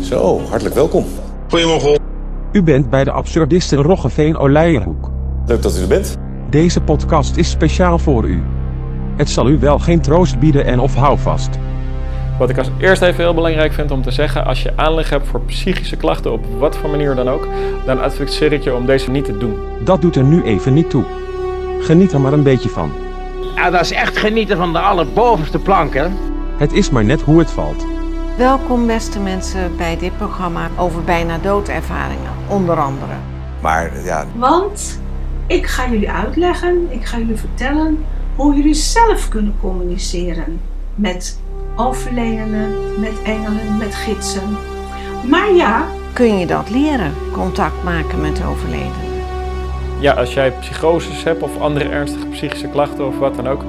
Zo, hartelijk welkom. Goedemorgen. U bent bij de absurdiste Roggeveen Oleijerhoek. Leuk dat u er bent. Deze podcast is speciaal voor u. Het zal u wel geen troost bieden en of houvast. Wat ik als eerste even heel belangrijk vind om te zeggen, als je aanleg hebt voor psychische klachten op wat voor manier dan ook, dan adviseer ik je om deze niet te doen. Dat doet er nu even niet toe. Geniet er maar een beetje van. Ja, dat is echt genieten van de allerbovenste plank, hè? Het is maar net hoe het valt. Welkom beste mensen bij dit programma over bijna doodervaringen, onder andere. Maar ja, Want ik ga jullie uitleggen, ik ga jullie vertellen hoe jullie zelf kunnen communiceren met overledenen, met engelen, met gidsen. Maar ja, Kun je dat leren? Contact maken met overledenen. Ja, als jij psychoses hebt of andere ernstige psychische klachten of wat dan ook,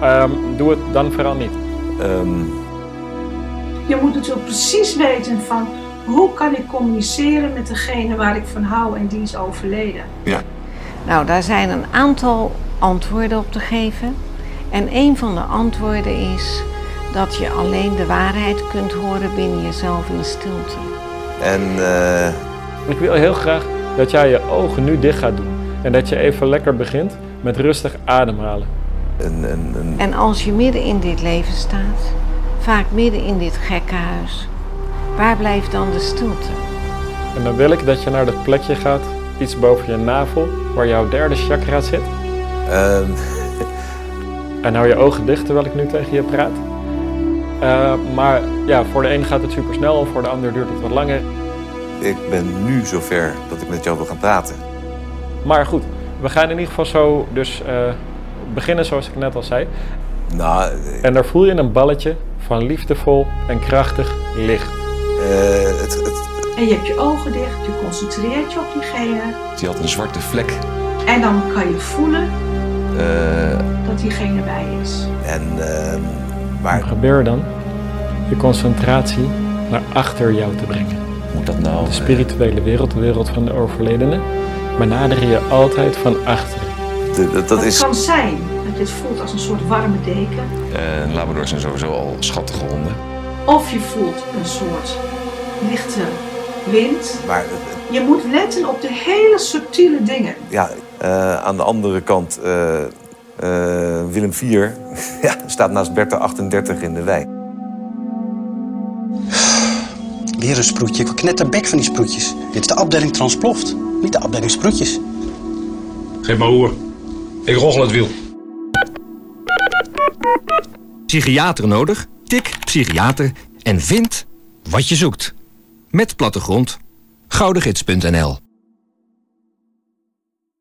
ehm, doe het dan vooral niet. ehm, je moet natuurlijk precies weten van hoe kan ik communiceren met degene waar ik van hou en die is overleden. Nou, daar zijn een aantal antwoorden op te geven. En een van de antwoorden is dat je alleen de waarheid kunt horen binnen jezelf in de stilte. en eh, Ik wil heel graag dat jij je ogen nu dicht gaat doen en dat je even lekker begint met rustig ademhalen. een, een, een, En als je midden in dit leven staat, vaak midden in dit gekke huis, waar blijft dan de stilte? En dan wil ik dat je naar dat plekje gaat, iets boven je navel, waar jouw derde chakra zit. ehm, En hou je ogen dicht terwijl ik nu tegen je praat. Eh, maar ja, voor de een gaat het super snel, voor de ander duurt het wat langer. ik ben nu zover dat ik met jou wil gaan praten. Maar goed, we gaan in ieder geval zo dus eh, beginnen zoals ik net al zei. Nou, eh, En daar voel je een balletje van liefdevol en krachtig licht. eh, het, het, En je hebt je ogen dicht, je concentreert je op diegene Die had een zwarte vlek. en dan kan je voelen eh, dat diegene bij is. en, ehm, maar Probeer dan je concentratie naar achter jou te brengen. Moet dat nou? De spirituele wereld, de wereld van de overledenen, benader je altijd van achteren. de- dat, dat het is... kan zijn dat je het voelt als een soort warme deken. Eh, Labradors zijn sowieso al schattige honden. Of je voelt een soort lichte wind. Maar eh, Je moet letten op de hele subtiele dingen. ja, eh, aan de andere kant, eh, eh, Willem IV ja, staat naast Bertha 38 in de wei. Weer een sproetje. Ik word knetterbek van die sproetjes. Dit is de afdeling Transploft, niet de afdeling Sproetjes. Geef maar roer. Ik roggel het wiel. Psychiater nodig? Tik psychiater en vind wat je zoekt. Met plattegrond. Goudegids.nl